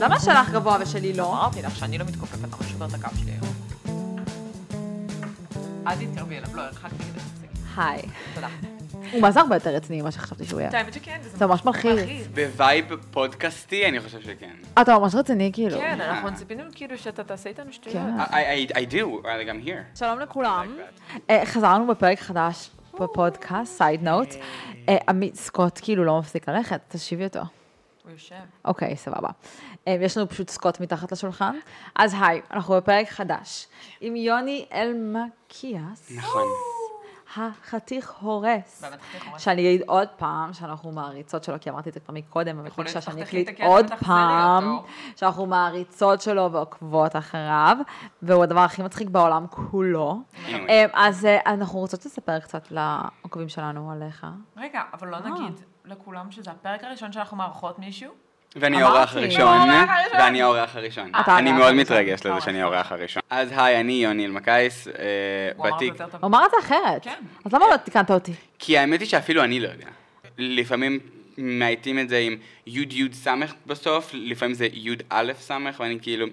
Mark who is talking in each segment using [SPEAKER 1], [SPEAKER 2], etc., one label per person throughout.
[SPEAKER 1] למה שלך גבוה ושלי לא?
[SPEAKER 2] אמרתי לך שאני לא מתכופפת, אני שובר את הקו שלי היום. אל תתקרבי אליו, לא, הרחקתי כדי שתפסיקי.
[SPEAKER 1] היי.
[SPEAKER 2] תודה.
[SPEAKER 1] הוא מאז הרבה יותר רציני ממה שחשבתי שהוא היה.
[SPEAKER 2] את האמת שכן,
[SPEAKER 1] זה ממש מלחיץ.
[SPEAKER 3] בווייב פודקאסטי, אני חושב שכן.
[SPEAKER 1] אה, אתה ממש רציני כאילו.
[SPEAKER 2] כן, אנחנו ציפינו כאילו שאתה תעשה איתנו שטויות.
[SPEAKER 1] כן.
[SPEAKER 3] I- I, I do, I- I'm here.
[SPEAKER 1] שלום לכולם.
[SPEAKER 3] Like
[SPEAKER 1] אה, חזרנו בפרק חדש בפודקאסט, סייד נוט. עמית סקוט כאילו לא מפסיק ללכת, תשיבי אותו.
[SPEAKER 2] הוא יושב.
[SPEAKER 1] אוקיי, סבבה. אה, יש לנו פשוט סקוט מתחת לשולחן. אז היי, אנחנו בפרק חדש. עם יוני אלמקיאס,
[SPEAKER 3] נכון.
[SPEAKER 1] החתיך הורס.
[SPEAKER 2] באמת, חתיך הורס.
[SPEAKER 1] שאני אגיד עוד פעם, שאנחנו מעריצות שלו, כי אמרתי את זה כבר מקודם, אבל
[SPEAKER 2] יכול להיות
[SPEAKER 1] בבקשה שאני
[SPEAKER 2] שתחתכי את
[SPEAKER 1] אקליט
[SPEAKER 2] הקטע
[SPEAKER 1] עוד
[SPEAKER 2] ותחזרי
[SPEAKER 1] פעם,
[SPEAKER 2] אותו.
[SPEAKER 1] שאנחנו מעריצות שלו ועוקבות אחריו, והוא הדבר הכי מצחיק בעולם כולו.
[SPEAKER 3] Anyway.
[SPEAKER 1] אה, אז אה, אנחנו רוצות לספר קצת לעוקבים שלנו עליך.
[SPEAKER 2] רגע, אבל
[SPEAKER 1] אה.
[SPEAKER 2] לא נגיד לכולם שזה הפרק הראשון שאנחנו מארחות מישהו?
[SPEAKER 3] ואני
[SPEAKER 1] אמרתי.
[SPEAKER 3] האורח הראשון,
[SPEAKER 2] הוא האורח הראשון.
[SPEAKER 3] ואני האורח הראשון.
[SPEAKER 1] אתה
[SPEAKER 3] אני
[SPEAKER 1] האורח
[SPEAKER 3] מאוד
[SPEAKER 1] הראשון.
[SPEAKER 3] מתרגש לזה שאני האורח הראשון. אז היי, אני יוני אלמקייס, אה,
[SPEAKER 2] הוא אמר את זה
[SPEAKER 3] ותיק,
[SPEAKER 2] יותר טוב.
[SPEAKER 1] הוא אמר את זה אחרת.
[SPEAKER 2] כן.
[SPEAKER 1] אז למה לא תיקנת אותי?
[SPEAKER 3] כי האמת היא שאפילו אני לא יודע. לפעמים מאייתים את זה עם יוד יוד סמך בסוף, לפעמים זה יוד א' סמך, ואני כאילו,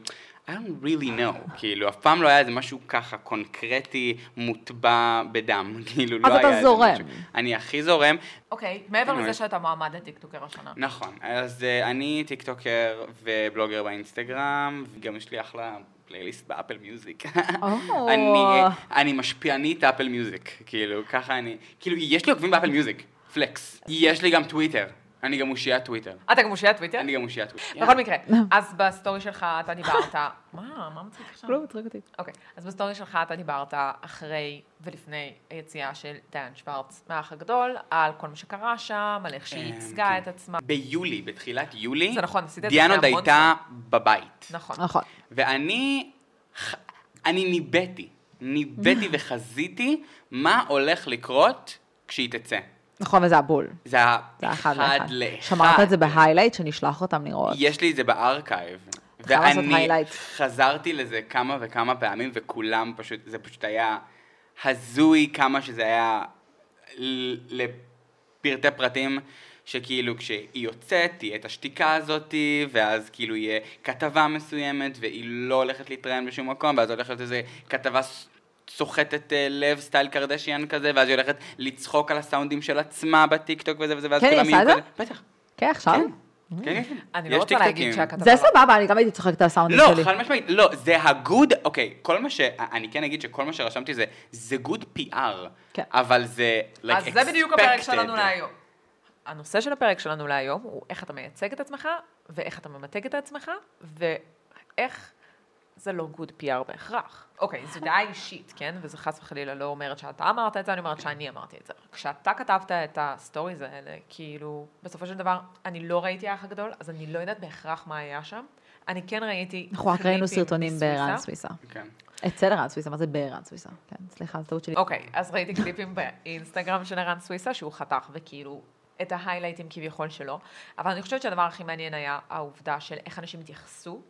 [SPEAKER 3] I don't really know, כאילו, אף פעם לא היה איזה משהו ככה קונקרטי, מוטבע בדם, כאילו, לא
[SPEAKER 1] אז
[SPEAKER 3] היה
[SPEAKER 1] אתה
[SPEAKER 3] איזה
[SPEAKER 1] זורם.
[SPEAKER 3] משהו. אני הכי זורם,
[SPEAKER 2] אוקיי, מעבר
[SPEAKER 3] אני
[SPEAKER 2] לזה
[SPEAKER 3] אומר-
[SPEAKER 2] שאתה מועמד לטיקטוקר השנה.
[SPEAKER 3] נכון, אז אה, אני טיקטוקר ובלוגר באינסטגרם, וגם יש לי אחלה פלייליסט באפל מיוזיק.
[SPEAKER 1] או.
[SPEAKER 3] אני, אה, אני משפיענית אפל מיוזיק, כאילו, ככה אני, כאילו, יש לי עוקבים באפל מיוזיק, פלקס. יש לי גם טוויטר, אני גם אושיית טוויטר.
[SPEAKER 2] אתה גם מושיע טוויטר?
[SPEAKER 3] אני גם אושיית טוויטר.
[SPEAKER 2] כן? בכל מקרה,
[SPEAKER 1] לא.
[SPEAKER 2] אז בסטורי שלך אתה דיברת... מה, מה מצחיק עכשיו?
[SPEAKER 1] לא מטריג אותי.
[SPEAKER 2] אוקיי, אז בסטורי שלך אתה דיברת אחרי ולפני היציאה של דיין שוורץ מהאח הגדול, על כל מה שקרה שם, על איך שהיא
[SPEAKER 3] אה,
[SPEAKER 2] ייצגה
[SPEAKER 3] כן.
[SPEAKER 2] את עצמה.
[SPEAKER 3] ביולי, בתחילת יולי,
[SPEAKER 2] זה נכון, עשית את זה
[SPEAKER 3] דיאן עוד
[SPEAKER 2] לפני המון
[SPEAKER 3] הייתה בבית.
[SPEAKER 2] נכון.
[SPEAKER 1] נכון.
[SPEAKER 3] ואני, ח- אני ניבאתי, ניבאתי וחזיתי מה הולך לקרות כשהיא תצא.
[SPEAKER 1] נכון, וזה הבול.
[SPEAKER 3] זה היה
[SPEAKER 1] זה אחד
[SPEAKER 3] אחד
[SPEAKER 1] לאחד.
[SPEAKER 3] לאחד.
[SPEAKER 1] שמרת את זה בהיילייט, שנשלח אותם לראות.
[SPEAKER 3] יש לי את זה בארכייב.
[SPEAKER 1] אפשר לעשות
[SPEAKER 3] ואני
[SPEAKER 1] highlight.
[SPEAKER 3] חזרתי לזה כמה וכמה פעמים, וכולם פשוט, זה פשוט היה הזוי כמה שזה היה ל- לפרטי פרטים. שכאילו כשהיא יוצאת, תהיה את השתיקה הזאתי, ואז כאילו יהיה כתבה מסוימת, והיא לא הולכת להתראיין בשום מקום, ואז הולכת איזה כתבה ס- סוחטת אה, לב, סטייל קרדשיאן כזה, ואז היא הולכת לצחוק על הסאונדים של עצמה בטיקטוק וזה וזה, ואז
[SPEAKER 1] כן, היא
[SPEAKER 3] כולם
[SPEAKER 1] עושה
[SPEAKER 3] יהיו
[SPEAKER 1] את זה?
[SPEAKER 3] כזה... בטח.
[SPEAKER 1] כן, עכשיו?
[SPEAKER 3] כן. כן, כן.
[SPEAKER 2] אני לא
[SPEAKER 3] יש
[SPEAKER 2] רוצה להגיד
[SPEAKER 3] טיקטוקים.
[SPEAKER 2] שהכתבה...
[SPEAKER 1] זה
[SPEAKER 2] לא-
[SPEAKER 1] סבבה, אני גם הייתי צוחקת על הסאונדים
[SPEAKER 3] לא,
[SPEAKER 1] שלי.
[SPEAKER 3] חד משמעית, לא, זה הגוד, אוקיי, כל מה ש... אני כן אגיד שכל מה שרשמתי זה, זה גוד פי-אר.
[SPEAKER 1] כן.
[SPEAKER 3] אבל זה, like,
[SPEAKER 2] אז זה בדיוק הפרק
[SPEAKER 3] expected.
[SPEAKER 2] שלנו להיום. הנושא של הפרק שלנו להיום הוא איך אתה מייצג את עצמך, ואיך אתה ממתג את עצמך, ואיך זה לא גוד PR בהכרח. אוקיי, זו דעה אישית, כן? וזה חס וחלילה לא אומרת שאתה אמרת את זה, אני אומרת שאני אמרתי את זה. כשאתה כתבת את הסטוריז האלה, כאילו, בסופו של דבר, אני לא ראיתי האח הגדול, אז אני לא יודעת בהכרח מה היה שם. אני כן ראיתי...
[SPEAKER 1] אנחנו רק ראינו
[SPEAKER 2] קליפים
[SPEAKER 1] סרטונים
[SPEAKER 2] מסוויסה.
[SPEAKER 1] בערן סוויסה.
[SPEAKER 3] כן.
[SPEAKER 1] אצל ערן סוויסה, מה זה בערן סוויסה? כן, סליחה, זו טעות שלי.
[SPEAKER 2] אוקיי, אז ראיתי קליפים באינסטגרם של ערן סוויסה שהוא חתך וכאילו את ההיילייטים כביכול שלו, אבל אני חושבת שהדבר הכי מעניין היה העובדה של איך אנשים התייחסו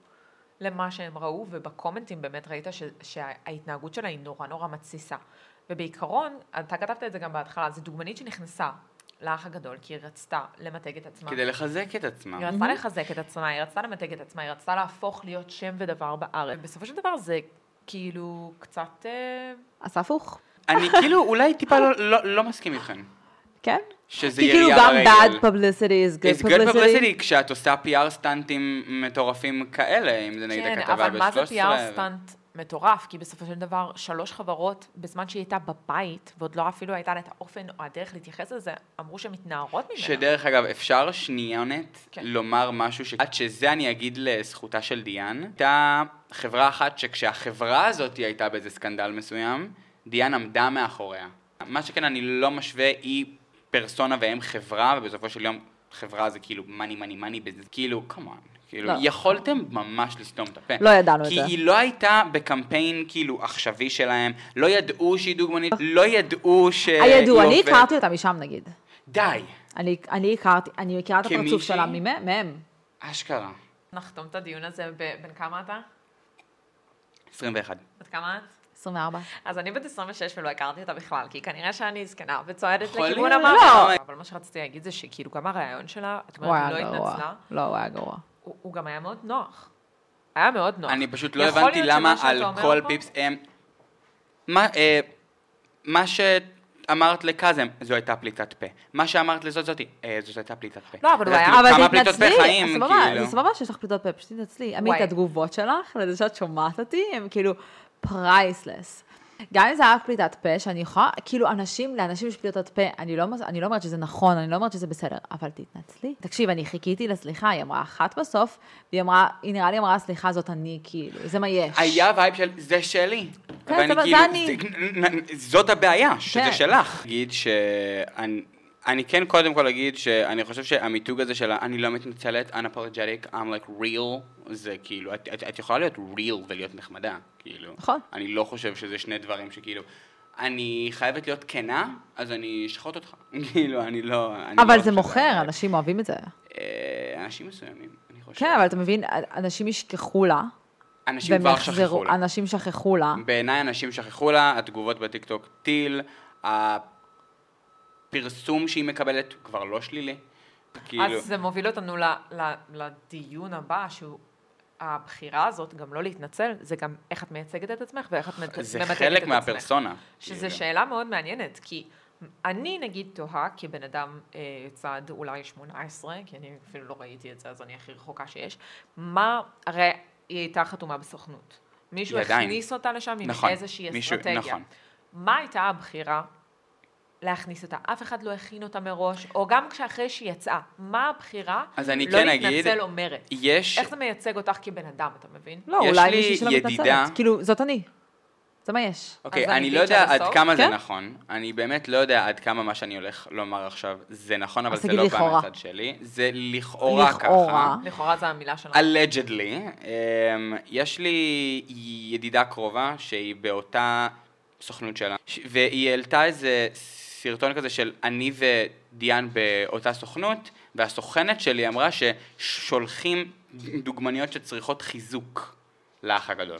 [SPEAKER 2] למה שהם ראו, ובקומנטים באמת ראית ש- שההתנהגות שלה היא נורא נורא מתסיסה. ובעיקרון, אתה כתבת את זה גם בהתחלה, זו דוגמנית שנכנסה לאח הגדול כי היא רצתה למתג את עצמה.
[SPEAKER 3] כדי לחזק את עצמם.
[SPEAKER 2] היא רצתה לחזק את עצמה, היא רצתה למתג את עצמה, היא רצתה להפוך להיות שם ודבר בארץ. בסופו של דבר זה כאילו קצת... אה,
[SPEAKER 1] אז הפוך.
[SPEAKER 3] אני כאילו אולי טיפה לא- לא- לא מסכים איתכם.
[SPEAKER 1] כן?
[SPEAKER 3] שזה
[SPEAKER 1] כי כאילו
[SPEAKER 3] ירייה
[SPEAKER 1] גם
[SPEAKER 3] ברגל.
[SPEAKER 1] bad publicity is
[SPEAKER 3] It's
[SPEAKER 1] good
[SPEAKER 3] good
[SPEAKER 1] publicity.
[SPEAKER 3] publicity כשאת עושה PR סטנטים מטורפים כאלה, אם זה נגיד
[SPEAKER 2] כן,
[SPEAKER 3] הכתבה ב-13.
[SPEAKER 2] אבל מה זה PR סטאנט מטורף? כי בסופו של דבר, שלוש חברות, בזמן שהיא הייתה בבית, ועוד לא אפילו הייתה לה את האופן או הדרך להתייחס לזה, אמרו שהן מתנערות ממנה.
[SPEAKER 3] שדרך אגב, אפשר שניונת
[SPEAKER 2] כן.
[SPEAKER 3] כן. לומר משהו, ש... עד שזה אני אגיד לזכותה של דיאן, הייתה חברה אחת שכשהחברה הזאת הייתה באיזה סקנדל מסוים, דיאן עמדה מאחוריה. מה שכן, אני לא משווה, היא פרסונה והם חברה, ובסופו של יום חברה זה כאילו מאני מאני מאני, כאילו, כמובן. כאילו,
[SPEAKER 1] לא.
[SPEAKER 3] יכולתם ממש לסתום את הפה.
[SPEAKER 1] לא ידענו את
[SPEAKER 3] כי
[SPEAKER 1] זה.
[SPEAKER 3] היא לא הייתה בקמפיין כאילו עכשווי שלהם, לא ידעו שהיא דוגמנית, לא ידעו ש...
[SPEAKER 1] הידוע,
[SPEAKER 3] היא
[SPEAKER 1] אני
[SPEAKER 3] עובדת-
[SPEAKER 1] הכרתי אותה משם נגיד.
[SPEAKER 3] די,
[SPEAKER 1] אני אני הכרתי, אני מכירה את הפרצוף
[SPEAKER 3] כמישהי?
[SPEAKER 1] שלה ממ- מהם.
[SPEAKER 3] אשכרה.
[SPEAKER 2] נחתום את הדיון הזה ב- בן כמה אתה?
[SPEAKER 3] 21.
[SPEAKER 2] בת כמה את?
[SPEAKER 1] 24.
[SPEAKER 2] אז אני בת 26 ולא הכרתי אותה בכלל, כי כנראה שאני זקנה וצועדת
[SPEAKER 3] יכול
[SPEAKER 2] לכיוון
[SPEAKER 3] להיות. לא.
[SPEAKER 2] המוות. אבל מה שרציתי להגיד זה שכאילו גם הרעיון שלה, את
[SPEAKER 1] הוא
[SPEAKER 2] אומרת,
[SPEAKER 1] היה
[SPEAKER 2] היא לא
[SPEAKER 1] גרוע.
[SPEAKER 2] התנצלה.
[SPEAKER 1] לא, הוא היה גרוע.
[SPEAKER 2] הוא הוא גם היה מאוד נוח. היה מאוד נוח.
[SPEAKER 3] אני פשוט לא
[SPEAKER 2] יכול
[SPEAKER 3] הבנתי
[SPEAKER 2] להיות
[SPEAKER 3] למה
[SPEAKER 2] שמה שאתה
[SPEAKER 3] על
[SPEAKER 2] אומר
[SPEAKER 3] כל
[SPEAKER 2] פה-
[SPEAKER 3] פיפס הם... מה, אה, מה שאמרת לקאזם, זו הייתה פליטת פה. מה שאמרת לזאת זאתי, אה, זאת הייתה פליטת פה.
[SPEAKER 2] לא, אבל הוא
[SPEAKER 3] אז
[SPEAKER 2] היה-
[SPEAKER 3] כאילו,
[SPEAKER 1] אבל
[SPEAKER 3] כמה פליטות
[SPEAKER 1] תתנצלי,
[SPEAKER 3] פה חיים,
[SPEAKER 1] סבבה,
[SPEAKER 3] כאילו.
[SPEAKER 1] זה סבבה שיש לך פליטות פה, פשוט תתנצלי. עמית,
[SPEAKER 2] וואי.
[SPEAKER 1] התגובות שלך, לזה שאת שומעת אותי, הן כאילו פרייסלס. גם אם זה היה רק פליטת פה, שאני יכולה, כאילו אנשים, לאנשים יש פליטות פה, אני לא, מס- אני לא אומרת שזה נכון, אני לא אומרת שזה בסדר, אבל תתנצלי. תקשיב, אני חיכיתי לסליחה, היא אמרה אחת בסוף, והיא אמרה, היא נראה לי אמרה, סליחה, זאת אני, כאילו, זה מה יש.
[SPEAKER 3] היה וייב של זה שלי.
[SPEAKER 1] כן,
[SPEAKER 3] ואני
[SPEAKER 1] סבבה,
[SPEAKER 3] כאילו,
[SPEAKER 1] זה אני.
[SPEAKER 3] "נ- נ- נ- זאת הבעיה, שזה
[SPEAKER 1] כן.
[SPEAKER 3] שלך. אגיד שאני אני כן קודם כל אגיד שאני חושב שהמיתוג הזה של ה- אני לא מתנצלת, unapologetic, I'm like real, זה כאילו, את, את, את יכולה להיות real ולהיות נחמדה, כאילו.
[SPEAKER 1] נכון.
[SPEAKER 3] אני לא חושב שזה שני דברים שכאילו, אני חייבת להיות כנה, אז אני אשחוט אותך. כאילו, אני לא... אני לא
[SPEAKER 1] אבל
[SPEAKER 3] חושב
[SPEAKER 1] זה
[SPEAKER 3] שזה
[SPEAKER 1] מוכר,
[SPEAKER 3] הבעיה.
[SPEAKER 1] אנשים אוהבים את זה.
[SPEAKER 3] אה, אנשים מסוימים, אני חושב.
[SPEAKER 1] כן, אבל אתה מבין, אנשים ישכחו לה,
[SPEAKER 3] אנשים
[SPEAKER 1] והם
[SPEAKER 3] כבר שכחו
[SPEAKER 1] יחזרו,
[SPEAKER 3] לה.
[SPEAKER 1] אנשים שכחו לה.
[SPEAKER 3] בעיניי אנשים שכחו לה, התגובות בטיקטוק טיל, הפרסום שהיא מקבלת הוא כבר לא שלילי. כאילו,
[SPEAKER 2] אז זה מוביל אותנו ל, ל, לדיון הבא, שהוא הבחירה הזאת, גם לא להתנצל, זה גם איך את מייצגת את עצמך ואיך את ממתגת את
[SPEAKER 3] זה
[SPEAKER 2] עצמך.
[SPEAKER 3] חלק מהפרסונה.
[SPEAKER 2] שזו
[SPEAKER 3] כאילו.
[SPEAKER 2] שאלה מאוד מעניינת, כי אני נגיד תוהה, כבן אדם אה, צד אולי 18, כי אני אפילו לא ראיתי את זה, אז אני הכי רחוקה שיש, מה, הרי היא הייתה חתומה בסוכנות. מישהו
[SPEAKER 3] היא עדיין.
[SPEAKER 2] הכניס אותה לשם עם
[SPEAKER 3] נכון,
[SPEAKER 2] איזושהי
[SPEAKER 3] מישהו-
[SPEAKER 2] אסטרטגיה.
[SPEAKER 3] נכון.
[SPEAKER 2] מה הייתה הבחירה להכניס אותה? אף אחד לא הכין אותה מראש, או גם כשאחרי שהיא יצאה, מה הבחירה
[SPEAKER 3] אז אני
[SPEAKER 2] לא
[SPEAKER 3] כן
[SPEAKER 2] להתנצל
[SPEAKER 3] אגיד,
[SPEAKER 2] אומרת?
[SPEAKER 3] יש,
[SPEAKER 2] איך זה מייצג אותך כבן אדם, אתה מבין?
[SPEAKER 1] לא,
[SPEAKER 3] יש
[SPEAKER 1] אולי
[SPEAKER 3] לי
[SPEAKER 1] מישהי שלא
[SPEAKER 3] ידידה-
[SPEAKER 1] מתנצלת. כאילו, זאת אני. זה מה יש.
[SPEAKER 3] אוקיי,
[SPEAKER 2] אז אני
[SPEAKER 3] אני לא
[SPEAKER 2] אגיד
[SPEAKER 3] יודע
[SPEAKER 2] שעד
[SPEAKER 3] עד
[SPEAKER 2] הסוף?
[SPEAKER 3] כמה זה
[SPEAKER 1] כן?
[SPEAKER 3] נכון, אני באמת לא יודע עד כמה מה שאני הולך לומר עכשיו זה נכון, אבל
[SPEAKER 1] אז
[SPEAKER 3] זה
[SPEAKER 1] תגיד
[SPEAKER 3] לא בא
[SPEAKER 1] לכאורה.
[SPEAKER 3] מהצד שלי, זה לכאורה ככה.
[SPEAKER 1] לכאורה.
[SPEAKER 2] לכאורה זו המילה שלנו.
[SPEAKER 3] אלג'דלי, אמ, יש לי ידידה קרובה שהיא באותה סוכנות שלה, ש- והיא העלתה איזה סרטון כזה של אני ודיאן באותה סוכנות, והסוכנת שלי אמרה ששולחים דוגמניות שצריכות חיזוק לאח הגדול.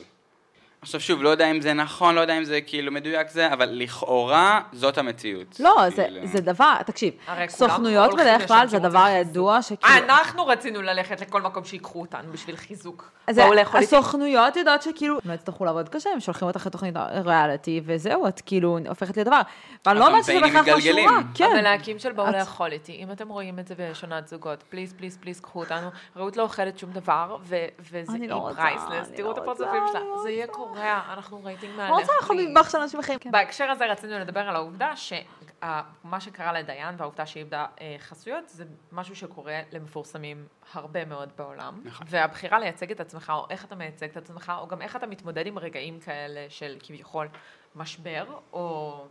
[SPEAKER 3] עכשיו שוב, לא יודע אם זה נכון, לא יודע אם זה כאילו מדויק זה, אבל לכאורה זאת המציאות.
[SPEAKER 1] לא, זה-
[SPEAKER 3] כאילו.
[SPEAKER 1] זה דבר, תקשיב,
[SPEAKER 2] הרי כולם
[SPEAKER 1] סוכנויות
[SPEAKER 2] הולכים
[SPEAKER 1] בדרך כלל
[SPEAKER 2] לשם אה,
[SPEAKER 1] זה
[SPEAKER 2] שרוצים
[SPEAKER 1] דבר
[SPEAKER 2] חיזוק.
[SPEAKER 1] ידוע שכאילו...
[SPEAKER 2] אנחנו רצינו ללכת לכל מקום שיקחו אותנו בשביל חיזוק.
[SPEAKER 1] אז
[SPEAKER 2] באו לאכול איתי.
[SPEAKER 1] הסוכנויות יודעות שכאילו, לא יצטרכו לעבוד קשה, הם שולחים אותך לתוכנית ריאליטי, וזהו, את כאילו הופכת לדבר. ואני לא אומרת שזה
[SPEAKER 3] הקמפיינים
[SPEAKER 1] בהכרח משהו
[SPEAKER 3] מתגלגלים.
[SPEAKER 1] רע, כן.
[SPEAKER 2] המלהקים של באו
[SPEAKER 1] את-
[SPEAKER 2] לאכול איתי, אם אתם רואים את זה בשכונת זוגות, פליז, פליז, פליז, קחו אותנו. רעות לא אוכלת שום דבר, ו- וזה
[SPEAKER 1] אני לא
[SPEAKER 2] היא
[SPEAKER 1] רוצה,
[SPEAKER 2] פרייסלס.
[SPEAKER 1] אני
[SPEAKER 2] תראו
[SPEAKER 1] לא
[SPEAKER 2] את
[SPEAKER 1] רוצה,
[SPEAKER 2] הפרצופים
[SPEAKER 1] אני
[SPEAKER 2] שלה.
[SPEAKER 1] לא
[SPEAKER 2] זה יהיה קורע, אנחנו רייטינג
[SPEAKER 1] אני רוצה לאכול
[SPEAKER 2] מהלך.
[SPEAKER 1] מטבח של אנשים אחרים. כן.
[SPEAKER 2] בהקשר הזה רצינו לדבר על העובדה שמה שקרה לדיין והעובדה שהיא איבדה אה, חסויות זה משהו שקורה למפורסמים הרבה מאוד בעולם.
[SPEAKER 3] נכון.
[SPEAKER 2] והבחירה לייצג את עצמך, או איך אתה מייצג את עצמך, או גם איך אתה מתמודד עם רגעים כאלה של כביכול משבר, או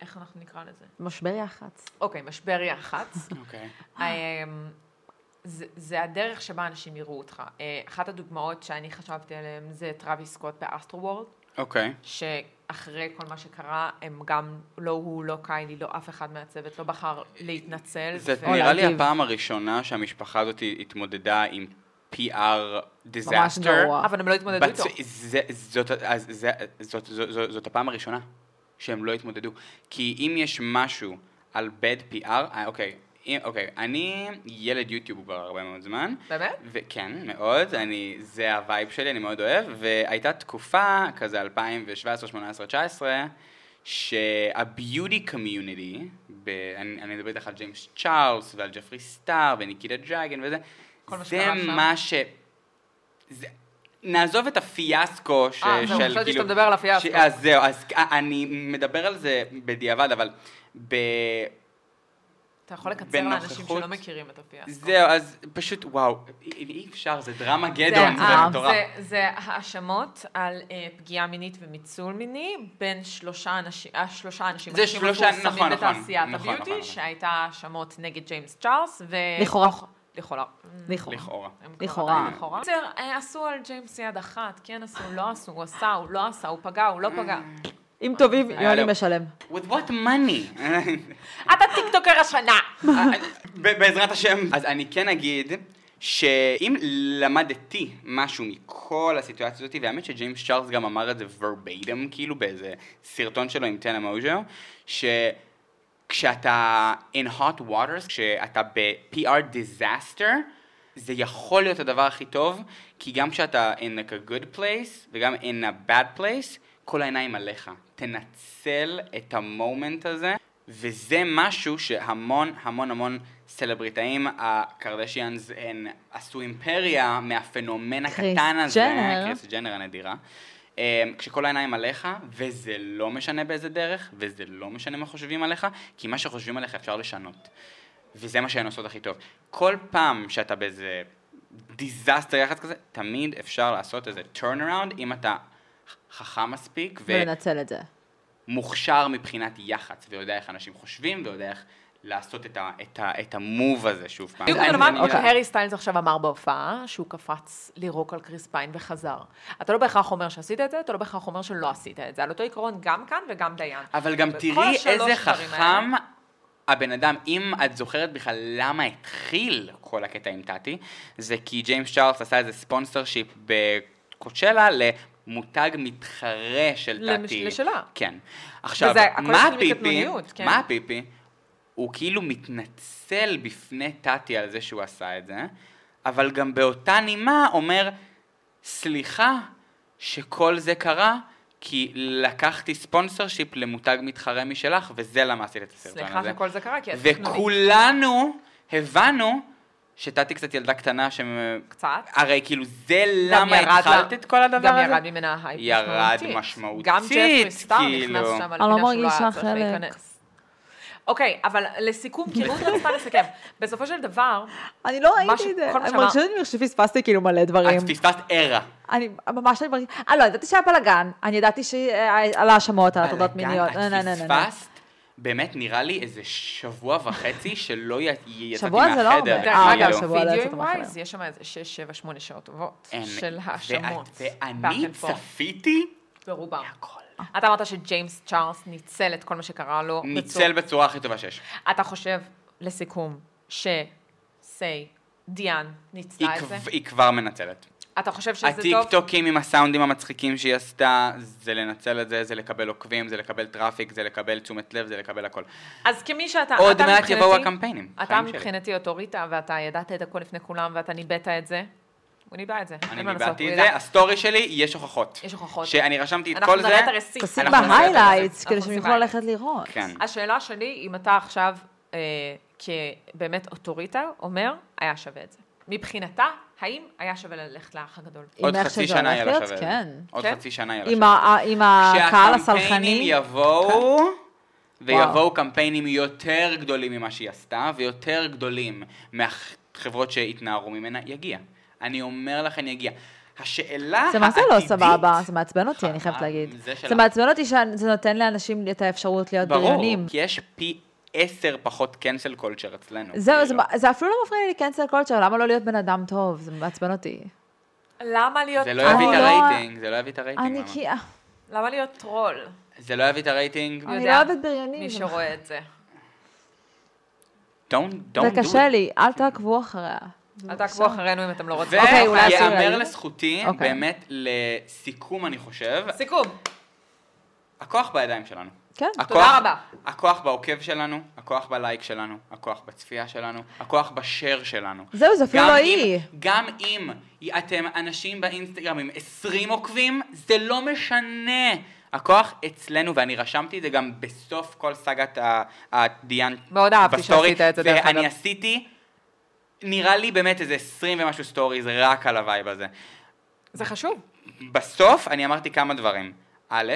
[SPEAKER 2] איך אנחנו נקרא לזה?
[SPEAKER 1] משבר יח"צ.
[SPEAKER 2] אוקיי, משבר יח"צ.
[SPEAKER 3] אוקיי.
[SPEAKER 2] אמ, זה, זה הדרך שבה אנשים יראו אותך. אה, אחת הדוגמאות שאני חשבתי עליהן זה טראביס סקוט באסטרו וורד.
[SPEAKER 3] אוקיי.
[SPEAKER 2] שאחרי כל מה שקרה, הם גם, לא הוא, לא קיילי, לא אף אחד מהצוות, לא בחר להתנצל.
[SPEAKER 3] זאת
[SPEAKER 2] ו-
[SPEAKER 3] נראה לי
[SPEAKER 1] להגיב.
[SPEAKER 3] הפעם הראשונה שהמשפחה הזאת התמודדה עם PR
[SPEAKER 1] ממש
[SPEAKER 3] disaster.
[SPEAKER 1] גרוע.
[SPEAKER 2] אבל הם לא התמודדו איתו.
[SPEAKER 3] בצ- זה- זאת- אז זה- זאת- זאת- זאת- זאת הפעם הראשונה שהם לא התמודדו. כי אם יש משהו על bad PR, אה, אוקיי, אם- אוקיי, אני ילד יוטיוב כבר הרבה מאוד זמן.
[SPEAKER 2] באמת?
[SPEAKER 3] וכן, כן, מאוד, אני, זה הווייב שלי, אני מאוד אוהב, והייתה תקופה, כזה 2017, 2018, 2019, שהביוטי קומיוניטי, אני אני מדבר איתך על ג'יימס צ'ארלס ועל ג'פרי סטאר וניקיטה דרגן וזה,
[SPEAKER 2] כל מה
[SPEAKER 3] זה
[SPEAKER 2] שקרה שם.
[SPEAKER 3] מה ש... זה- נעזוב את הפיאסקו ש...
[SPEAKER 2] אה, זהו,
[SPEAKER 3] של
[SPEAKER 2] חשבתי
[SPEAKER 3] כאילו-
[SPEAKER 2] שאתה מדבר על הפיאסקו.
[SPEAKER 3] ש- אז זהו, אז אה, אני מדבר על זה בדיעבד, אבל ב...
[SPEAKER 2] אתה יכול לקצר לאנשים
[SPEAKER 3] בנוכחות-
[SPEAKER 2] שלא מכירים את הפיאסקו.
[SPEAKER 3] זהו, אז פשוט, וואו, אי- אי אפשר, זה דרמה גדון, זה
[SPEAKER 2] אה,
[SPEAKER 3] מטורף.
[SPEAKER 2] זה- זה האשמות על אה, פגיעה מינית ומיצול מיני בין שלושה אנשים, השלושה אנשים
[SPEAKER 3] זה
[SPEAKER 2] הכי
[SPEAKER 3] שלושה-
[SPEAKER 2] מפורסמים
[SPEAKER 3] נכון, נכון,
[SPEAKER 2] בתעשיית
[SPEAKER 3] נכון, נכון,
[SPEAKER 2] הביוטי,
[SPEAKER 3] נכון.
[SPEAKER 2] שהייתה האשמות נגד ג'יימס צ'ארלס, ו...
[SPEAKER 1] לכאורה.
[SPEAKER 2] אה, לכאורה.
[SPEAKER 1] לכאורה.
[SPEAKER 3] לכאורה.
[SPEAKER 2] הם כבר
[SPEAKER 1] לכאורה.
[SPEAKER 2] עדיין לכאורה. בסדר, אה, עשו על ג'יימס יד אחת, כן עשו, לא עשו, הוא עשה, הוא לא עשה, הוא פגע, הוא לא פגע.
[SPEAKER 1] אם טובים,
[SPEAKER 3] היה לו-
[SPEAKER 1] יוני משלם.
[SPEAKER 3] With what money?
[SPEAKER 2] אתה טיקטוקר השנה!
[SPEAKER 3] אה, ב- בעזרת השם. אז אני כן אגיד שאם למדתי משהו מכל הסיטואציה הזאת, והאמת שג'יימס צ'ארלס גם אמר את זה verbatim, כאילו באיזה סרטון שלו עם טנה מוז'ו, ש... כשאתה in hot waters, כשאתה ב-PR disaster, זה יכול להיות הדבר הכי טוב, כי גם כשאתה in like a good place וגם in a bad place, כל העיניים עליך. תנצל את המומנט הזה, וזה משהו שהמון המון המון סלבריטאים, הקרדשיאנס הן עשו אימפריה מהפנומן
[SPEAKER 1] קריס
[SPEAKER 3] הקטן הזה,
[SPEAKER 1] ג'נר.
[SPEAKER 3] קריס ג'נר הנדירה. אמ, כשכל העיניים עליך, וזה לא משנה באיזה דרך, וזה לא משנה מה חושבים עליך, כי מה שחושבים עליך אפשר לשנות. וזה מה שהן עושות הכי טוב. כל פעם שאתה באיזה דיזסטר יחס כזה, תמיד אפשר לעשות איזה turnaround אם אתה חכם מספיק
[SPEAKER 1] ולנצל את זה.
[SPEAKER 3] ומוכשר מבחינת יח"צ, ויודע איך אנשים חושבים, ויודע איך לעשות את, ה, את, ה, את המוב הזה שוב פעם.
[SPEAKER 2] בדיוק אוקיי,
[SPEAKER 3] אני-
[SPEAKER 2] אותו דבר
[SPEAKER 3] אני- אוקיי.
[SPEAKER 2] כמו שהארי סטיילס עכשיו אמר בהופעה, שהוא קפץ לירוק על קריס פיין וחזר. אתה לא בהכרח אומר שעשית את זה, אתה לא בהכרח אומר שלא עשית את זה. על אותו עיקרון גם כאן וגם דיין.
[SPEAKER 3] אבל גם
[SPEAKER 2] בכל
[SPEAKER 3] תראי
[SPEAKER 2] השלוש
[SPEAKER 3] איזה
[SPEAKER 2] דברים האלה.
[SPEAKER 3] חכם הבן אדם, אם את זוכרת בכלל למה התחיל כל הקטע עם טאטי, זה כי ג'יימס צ'ארלס עשה איזה ספונסר שיפ בקוצ'לה למותג מתחרה של
[SPEAKER 2] למש-
[SPEAKER 3] טאטי.
[SPEAKER 2] לשלה.
[SPEAKER 3] כן. עכשיו,
[SPEAKER 2] וזה- הכל
[SPEAKER 3] מה
[SPEAKER 2] התחיל
[SPEAKER 3] הפיפי?
[SPEAKER 2] מקטנוניות, כן.
[SPEAKER 3] מה הפיפי? הוא כאילו מתנצל בפני טאטי על זה שהוא עשה את זה, אבל גם באותה נימה אומר, סליחה שכל זה קרה, כי לקחתי ספונסר שיפ למותג מתחרה משלך, וזה למה עשיתי את הסרטון
[SPEAKER 2] סליחה
[SPEAKER 3] הזה.
[SPEAKER 2] שכל זה קרה, כי את תכנונית
[SPEAKER 3] וכולנו הבנו שטאטי קצת ילדה קטנה ש...
[SPEAKER 2] קצת.
[SPEAKER 3] הרי כאילו זה
[SPEAKER 2] גם
[SPEAKER 3] למה
[SPEAKER 2] ירד לה-
[SPEAKER 3] התחלת את כל הדבר
[SPEAKER 2] גם
[SPEAKER 3] הזה?
[SPEAKER 2] ירד ממנה ההייפ
[SPEAKER 3] ירד
[SPEAKER 2] משמעותית.
[SPEAKER 3] משמעותית,
[SPEAKER 2] גם ג'פרי סטאר
[SPEAKER 3] כאילו.
[SPEAKER 2] נכנס שם על
[SPEAKER 1] אני לא
[SPEAKER 2] פינה שהוא לא
[SPEAKER 1] מרגישה
[SPEAKER 2] היה צריך
[SPEAKER 1] חלק.
[SPEAKER 2] להיכנס. אוקיי, אבל לסיכום, כי רות רצתה לסכם. בסופו של דבר,
[SPEAKER 3] אה,
[SPEAKER 1] אני לא
[SPEAKER 2] מה ש-
[SPEAKER 1] ראיתי את זה.
[SPEAKER 2] כל מה
[SPEAKER 1] אני
[SPEAKER 2] שאמר-
[SPEAKER 1] מרגישה שאני מרגישה שפספסתי כאילו מלא דברים.
[SPEAKER 3] את פספסת ערה.
[SPEAKER 1] אני ממש אני מרגישה, אה לא, ידעתי שהיה בלאגן, אני ידעתי שעל ההאשמות, על הטרדות
[SPEAKER 3] בלאגן,
[SPEAKER 1] מיניות. לא, נה, נה, נה,
[SPEAKER 3] את
[SPEAKER 1] נה, נה.
[SPEAKER 3] פספסת, באמת נראה לי איזה שבוע וחצי שלא י- יצאתי
[SPEAKER 1] שבוע זה לא
[SPEAKER 3] מהחדר.
[SPEAKER 1] הרבה.
[SPEAKER 2] דרך
[SPEAKER 1] אה,
[SPEAKER 2] אגב,
[SPEAKER 1] לא.
[SPEAKER 3] כאילו.
[SPEAKER 1] שבוע לא
[SPEAKER 2] וידאו
[SPEAKER 1] יצאת
[SPEAKER 2] עם
[SPEAKER 1] מהחדר.
[SPEAKER 2] וייז, יש שם איזה 6-7-8 שעות טובות
[SPEAKER 3] אין.
[SPEAKER 2] של
[SPEAKER 3] ואת-
[SPEAKER 2] האשמות. back
[SPEAKER 3] ואני
[SPEAKER 2] and forth,
[SPEAKER 3] צפיתי
[SPEAKER 2] ברובם. אתה אמרת שג'יימס צ'ארלס ניצל את כל מה שקרה לו.
[SPEAKER 3] ניצל בצורה הכי טובה שיש.
[SPEAKER 2] בצורה- אתה חושב, לסיכום, ש... סיי, דיאן,
[SPEAKER 3] היא
[SPEAKER 2] ניצלה את
[SPEAKER 3] כבר-
[SPEAKER 2] זה?
[SPEAKER 3] היא כבר מנצלת.
[SPEAKER 2] אתה חושב שזה טוב?
[SPEAKER 3] הטיקטוקים עם הסאונדים המצחיקים שהיא עשתה, זה לנצל את זה, זה לקבל עוקבים, זה לקבל טראפיק, זה לקבל תשומת לב, זה לקבל הכל.
[SPEAKER 2] אז כמי שאתה...
[SPEAKER 3] עוד
[SPEAKER 2] אה, אתה
[SPEAKER 3] מעט
[SPEAKER 2] מבחינתי-
[SPEAKER 3] יבואו הקמפיינים,
[SPEAKER 2] אתה
[SPEAKER 3] חיים שלי.
[SPEAKER 2] מבחינתי אוטוריטה, ואתה ידעת את הכל לפני כולם, ואתה ניבאת את זה. הוא ניבא את זה.
[SPEAKER 3] אני
[SPEAKER 2] אין מה לעשות,
[SPEAKER 3] ניבאתי
[SPEAKER 2] הוא
[SPEAKER 3] את
[SPEAKER 2] ידע.
[SPEAKER 3] זה, הסטורי שלי, יש הוכחות.
[SPEAKER 2] יש הוכחות.
[SPEAKER 3] שאני רשמתי את
[SPEAKER 2] אנחנו
[SPEAKER 3] כל זה.
[SPEAKER 2] נראה את הרסיס.
[SPEAKER 1] תשים
[SPEAKER 3] אנחנו נראה את הרסיס.
[SPEAKER 1] בהיילייטס,
[SPEAKER 2] אנחנו
[SPEAKER 1] כדי שהם
[SPEAKER 2] עושים
[SPEAKER 1] יוכלו
[SPEAKER 2] highlights.
[SPEAKER 1] ללכת לראות.
[SPEAKER 3] כן.
[SPEAKER 2] השאלה שלי, אם אתה עכשיו, אה, כבאמת אוטוריטה, אומר, היה שווה את זה. מבחינתה, האם היה שווה ללכת לאח הגדול?
[SPEAKER 1] עם
[SPEAKER 3] עוד
[SPEAKER 1] איך שזה
[SPEAKER 3] חצי שנה
[SPEAKER 1] הולך
[SPEAKER 3] יהיה לה
[SPEAKER 1] להיות,
[SPEAKER 3] שווה. את זה.
[SPEAKER 1] כן.
[SPEAKER 3] עוד
[SPEAKER 2] כן?
[SPEAKER 3] חצי שנה יהיה לה
[SPEAKER 1] עם
[SPEAKER 3] שווה.
[SPEAKER 1] ה- אה, עם הקהל הסלחני. כן.
[SPEAKER 3] כשהקמפיינים יבואו,
[SPEAKER 1] וואו.
[SPEAKER 3] ויבואו קמפיינים יותר גדולים ממה שהיא עשתה, ויותר גדולים מהחברות שהתנערו ממנה, יגיע. אני אומר לכם, יגיע. השאלה
[SPEAKER 1] זה מה זה לא
[SPEAKER 3] העתידית-
[SPEAKER 1] סבבה, זה מעצבן אותי,
[SPEAKER 3] חכה,
[SPEAKER 1] אני חייבת להגיד.
[SPEAKER 3] אוקיי. אה, זה שלה.
[SPEAKER 1] זה מעצבן אותי שזה נותן לאנשים את האפשרות להיות
[SPEAKER 3] ברור,
[SPEAKER 1] בריונים.
[SPEAKER 3] כי יש פי עשר פחות קנסל קולצ'ר אצלנו.
[SPEAKER 1] זהו,
[SPEAKER 3] כאילו.
[SPEAKER 1] זה- זה אפילו לא מפריע לי לקנסל קולצ'ר, למה לא להיות בן אדם טוב? זה מעצבן אותי.
[SPEAKER 3] אוקיי,
[SPEAKER 2] למה להיות
[SPEAKER 3] זה לא יביא את
[SPEAKER 1] אני לא-
[SPEAKER 3] הרייטינג, זה לא יביא את הרייטינג.
[SPEAKER 1] אני
[SPEAKER 3] למה?
[SPEAKER 1] כי... אה,
[SPEAKER 2] למה להיות טרול?
[SPEAKER 3] זה לא יביא את הרייטינג.
[SPEAKER 1] אני
[SPEAKER 2] יודע,
[SPEAKER 1] לא אוהבת בריונים.
[SPEAKER 2] מי
[SPEAKER 1] זה-
[SPEAKER 2] שרואה את זה.
[SPEAKER 3] Don't, don't
[SPEAKER 1] זה
[SPEAKER 3] do
[SPEAKER 1] קשה
[SPEAKER 3] it.
[SPEAKER 1] לי, אל תעקבו אחריה.
[SPEAKER 2] אל תעקבו אחרינו אם אתם לא רוצים.
[SPEAKER 1] אוקיי, אולי עשו
[SPEAKER 3] ויאמר
[SPEAKER 1] ראיון?
[SPEAKER 3] לזכותי,
[SPEAKER 1] אוקיי.
[SPEAKER 3] באמת, לסיכום אני חושב,
[SPEAKER 2] סיכום.
[SPEAKER 3] הכוח בידיים שלנו.
[SPEAKER 1] כן,
[SPEAKER 3] הכוח-
[SPEAKER 2] תודה רבה.
[SPEAKER 3] הכוח בעוקב שלנו, הכוח בלייק שלנו, הכוח בצפייה שלנו, הכוח בשייר שלנו.
[SPEAKER 1] זהו, זה אפילו
[SPEAKER 3] גם
[SPEAKER 1] לא
[SPEAKER 3] אם-
[SPEAKER 1] היא.
[SPEAKER 3] גם אם אתם אנשים באינסטגרם עם 20 עוקבים, זה לא משנה. הכוח אצלנו, ואני רשמתי את זה גם בסוף כל סאגת ה- הדיאן
[SPEAKER 2] מאוד אהבתי
[SPEAKER 3] בסטורי,
[SPEAKER 2] שעשית את זה, דרך אגב.
[SPEAKER 3] ואני עשיתי, נראה לי באמת איזה 20 ומשהו סטוריז רק על הווייב הזה.
[SPEAKER 2] זה חשוב.
[SPEAKER 3] בסוף אני אמרתי כמה דברים. א',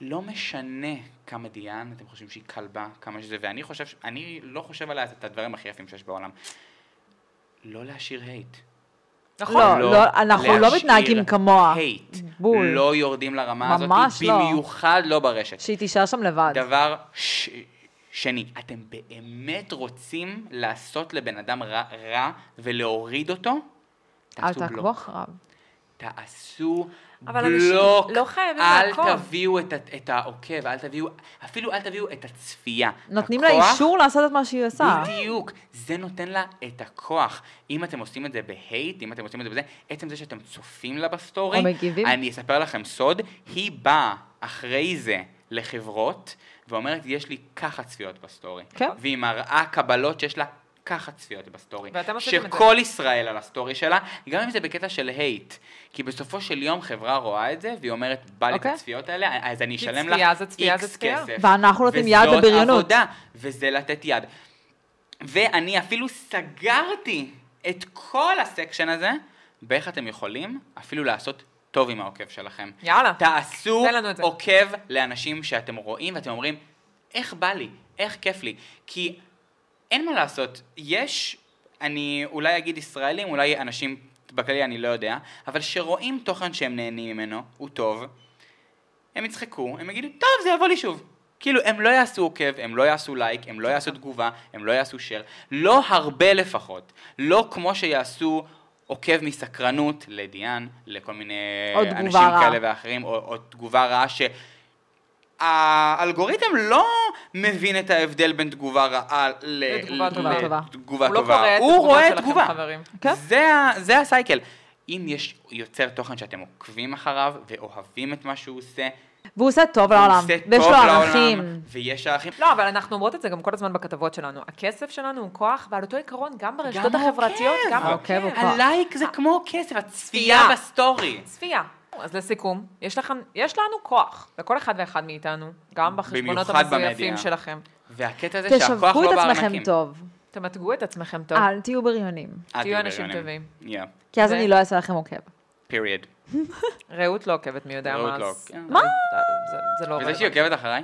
[SPEAKER 3] לא משנה כמה דיאן, אתם חושבים שהיא כלבה, כמה שזה, ואני חושב, ש- אני לא חושב עליה את הדברים הכי יפים שיש בעולם. לא להשאיר הייט.
[SPEAKER 2] נכון.
[SPEAKER 1] לא, לא, אנחנו לא
[SPEAKER 3] להשאיר
[SPEAKER 1] מתנהגים כמוה.
[SPEAKER 3] הייט.
[SPEAKER 1] בול.
[SPEAKER 3] לא יורדים לרמה הזאת,
[SPEAKER 1] ממש לא.
[SPEAKER 3] במיוחד לא ברשת.
[SPEAKER 1] שהיא תישאר שם לבד.
[SPEAKER 3] דבר ש... שני, אתם באמת רוצים לעשות לבן אדם רע, רע ולהוריד אותו?
[SPEAKER 1] אל
[SPEAKER 3] תעשו
[SPEAKER 1] תעקבו
[SPEAKER 3] בלוק.
[SPEAKER 1] אחריו.
[SPEAKER 3] תעשו
[SPEAKER 2] אבל אנשים
[SPEAKER 3] בלוק,
[SPEAKER 2] לא חייבים
[SPEAKER 3] אל
[SPEAKER 2] לעקוב.
[SPEAKER 3] תביאו את, ה- את העוקב, אל תביאו, אפילו אל תביאו את הצפייה.
[SPEAKER 1] נותנים לה
[SPEAKER 3] הכוח-
[SPEAKER 1] אישור לעשות את מה שהיא עושה.
[SPEAKER 3] בדיוק, זה נותן לה את הכוח. אם אתם עושים את זה בהייט, אם אתם עושים את זה בזה, עצם זה שאתם צופים לה בסטורי,
[SPEAKER 1] או מגיבים.
[SPEAKER 3] אני אספר לכם סוד, היא באה אחרי זה לחברות, ואומרת, יש לי ככה צפיות בסטורי.
[SPEAKER 1] כן.
[SPEAKER 3] והיא מראה קבלות שיש לה ככה צפיות בסטורי.
[SPEAKER 2] ואתם עשיתם את זה.
[SPEAKER 3] שכל ישראל על הסטורי שלה, גם אם זה בקטע של הייט. כי בסופו של יום חברה רואה את זה, והיא אומרת, בא לי את
[SPEAKER 1] אוקיי.
[SPEAKER 3] הצפיות האלה, אז אני
[SPEAKER 2] כי
[SPEAKER 3] אשלם
[SPEAKER 2] צפייה
[SPEAKER 3] לך
[SPEAKER 2] זה צפייה זה
[SPEAKER 3] איקס
[SPEAKER 2] צפייה.
[SPEAKER 3] כסף.
[SPEAKER 1] ואנחנו נותנים יד
[SPEAKER 3] וזאת
[SPEAKER 1] לבריונות.
[SPEAKER 3] עבודה, וזה לתת יד. ואני אפילו סגרתי את כל הסקשן הזה, באיך אתם יכולים אפילו לעשות טוב עם העוקב שלכם.
[SPEAKER 2] יאללה.
[SPEAKER 3] תעשו
[SPEAKER 2] תן לנו את זה.
[SPEAKER 3] עוקב לאנשים שאתם רואים ואתם אומרים, איך בא לי, איך כיף לי. כי אין מה לעשות, יש, אני אולי אגיד ישראלים, אולי אנשים בכללי אני לא יודע, אבל שרואים תוכן שהם נהנים ממנו, הוא טוב, הם יצחקו, הם יגידו, טוב, זה יבוא לי שוב. כאילו, הם לא יעשו עוקב, הם לא יעשו לייק, הם לא יעשו תגובה, הם לא יעשו שייר. לא הרבה לפחות. לא כמו שיעשו עוקב מסקרנות לדיאן, לכל מיני
[SPEAKER 1] או תגובה
[SPEAKER 3] אנשים
[SPEAKER 1] רעה.
[SPEAKER 3] כאלה ואחרים, או, או תגובה רעה ש... האלגוריתם לא מבין את ההבדל בין תגובה רעה ל...
[SPEAKER 2] לתגובה
[SPEAKER 3] ל-
[SPEAKER 2] טובה.
[SPEAKER 3] לתגובה
[SPEAKER 2] הוא לא
[SPEAKER 3] טובה.
[SPEAKER 2] קורא את
[SPEAKER 3] הוא
[SPEAKER 2] התגובה
[SPEAKER 3] רואה
[SPEAKER 2] שלכם,
[SPEAKER 3] תגובה.
[SPEAKER 2] חברים.
[SPEAKER 1] כן.
[SPEAKER 3] זה, ה- זה הסייקל. אם יש יוצר תוכן שאתם עוקבים אחריו ואוהבים את מה שהוא עושה,
[SPEAKER 1] והוא עושה טוב
[SPEAKER 3] הוא
[SPEAKER 1] לעולם,
[SPEAKER 3] עושה
[SPEAKER 1] ויש
[SPEAKER 3] טוב
[SPEAKER 1] לו
[SPEAKER 3] לעולם,
[SPEAKER 1] ערכים. אה,
[SPEAKER 3] ויש ערכים.
[SPEAKER 2] לא, אבל אנחנו אומרות את זה גם כל הזמן בכתבות שלנו. הכסף שלנו הוא כוח, ועל אותו עיקרון גם ברשתות
[SPEAKER 3] העוקב.
[SPEAKER 2] החברתיות, גם
[SPEAKER 1] העוקב
[SPEAKER 2] העוקב.
[SPEAKER 1] הוא כוח.
[SPEAKER 3] הלייק
[SPEAKER 1] אה.
[SPEAKER 3] זה כמו כסף, הצפייה
[SPEAKER 2] צפייה.
[SPEAKER 3] בסטורי.
[SPEAKER 2] צפייה. אז לסיכום, יש, לכם, יש לנו כוח, לכל אחד ואחד מאיתנו, גם בחשבונות
[SPEAKER 3] במיוחד
[SPEAKER 2] המזויפים
[SPEAKER 3] במדיה.
[SPEAKER 2] שלכם.
[SPEAKER 3] והקטע הזה שהכוח לא
[SPEAKER 1] תשווקו את עצמכם
[SPEAKER 3] בארנקים.
[SPEAKER 1] טוב,
[SPEAKER 2] תמתגו את עצמכם טוב.
[SPEAKER 1] אל תהיו בריונים,
[SPEAKER 3] אל
[SPEAKER 2] תהיו אנשים
[SPEAKER 3] בריונים. אה, Yeah,
[SPEAKER 1] כי אז
[SPEAKER 2] זה-
[SPEAKER 1] אני לא אעשה לכם עוקב.
[SPEAKER 3] period.
[SPEAKER 2] רעות לא עוקבת מי יודע מה.
[SPEAKER 3] רעות לא
[SPEAKER 2] אז-
[SPEAKER 3] עוקבת.
[SPEAKER 1] אה.
[SPEAKER 2] מה? זה- זה לא
[SPEAKER 3] וזה
[SPEAKER 2] רלוונטי.
[SPEAKER 3] שהיא עוקבת אחריי?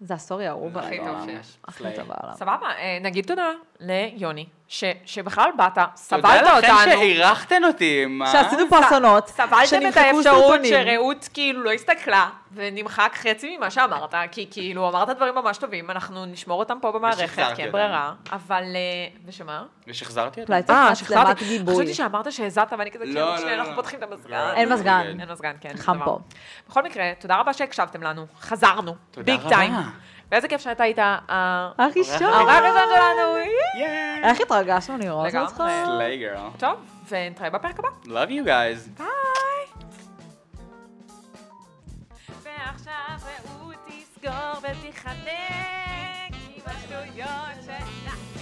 [SPEAKER 1] זה הסטורי האהוב
[SPEAKER 3] הכי
[SPEAKER 1] עליי.
[SPEAKER 2] טוב
[SPEAKER 1] בעולם.
[SPEAKER 2] שיש.
[SPEAKER 1] הכי טוב בעולם.
[SPEAKER 2] סבבה, אה, נגיד תודה ליוני, ש- שבכלל באת, סבלת
[SPEAKER 3] תודה לכם
[SPEAKER 2] אותנו.
[SPEAKER 3] שאירחתם אותי, מה?
[SPEAKER 1] שעשינו פה אסונות,
[SPEAKER 2] סבלתם את
[SPEAKER 1] שנמחקו
[SPEAKER 2] האפשרות
[SPEAKER 1] סרטונים.
[SPEAKER 2] שרעות כאילו לא הסתכלה, ונמחק חצי ממה שאמרת, כי כאילו אמרת דברים ממש טובים, אנחנו נשמור אותם פה במערכת,
[SPEAKER 3] ושחזרתי
[SPEAKER 2] כי אין
[SPEAKER 3] אותם.
[SPEAKER 2] ברירה, אבל... אה, ושמה? אה,
[SPEAKER 3] ושחזרתי אותה.
[SPEAKER 1] אולי צריך מצלמת אה, גיבוי.
[SPEAKER 2] חשבתי שאמרת שהזעת, ואני כזה,
[SPEAKER 3] לא,
[SPEAKER 2] כאילו,
[SPEAKER 3] לא,
[SPEAKER 2] שנייה,
[SPEAKER 3] לא.
[SPEAKER 2] אנחנו פותחים את המזגן.
[SPEAKER 3] לא,
[SPEAKER 1] אין
[SPEAKER 3] לא,
[SPEAKER 1] מזגן.
[SPEAKER 3] לא, לא.
[SPEAKER 2] אין מזגן, כן.
[SPEAKER 1] חם
[SPEAKER 2] דבר.
[SPEAKER 1] פה.
[SPEAKER 2] בכל מקרה, תודה רבה שהקשבתם לנו, חזרנו,
[SPEAKER 3] תודה
[SPEAKER 2] ביג
[SPEAKER 3] רבה.
[SPEAKER 2] טיים. ואיזה כיף שאתה היית ה-
[SPEAKER 1] הראשון.
[SPEAKER 2] ההורה הראשון שלנו.
[SPEAKER 3] יאי!
[SPEAKER 1] איך התרגשנו לראות
[SPEAKER 2] לגמרי.
[SPEAKER 1] אותך?
[SPEAKER 3] Slay girl.
[SPEAKER 2] טוב, ונתראה בפרק הבא.
[SPEAKER 3] Love you guys.
[SPEAKER 2] ביי! ועכשיו רעות תסגור ותיחנק עם השטויות שלה.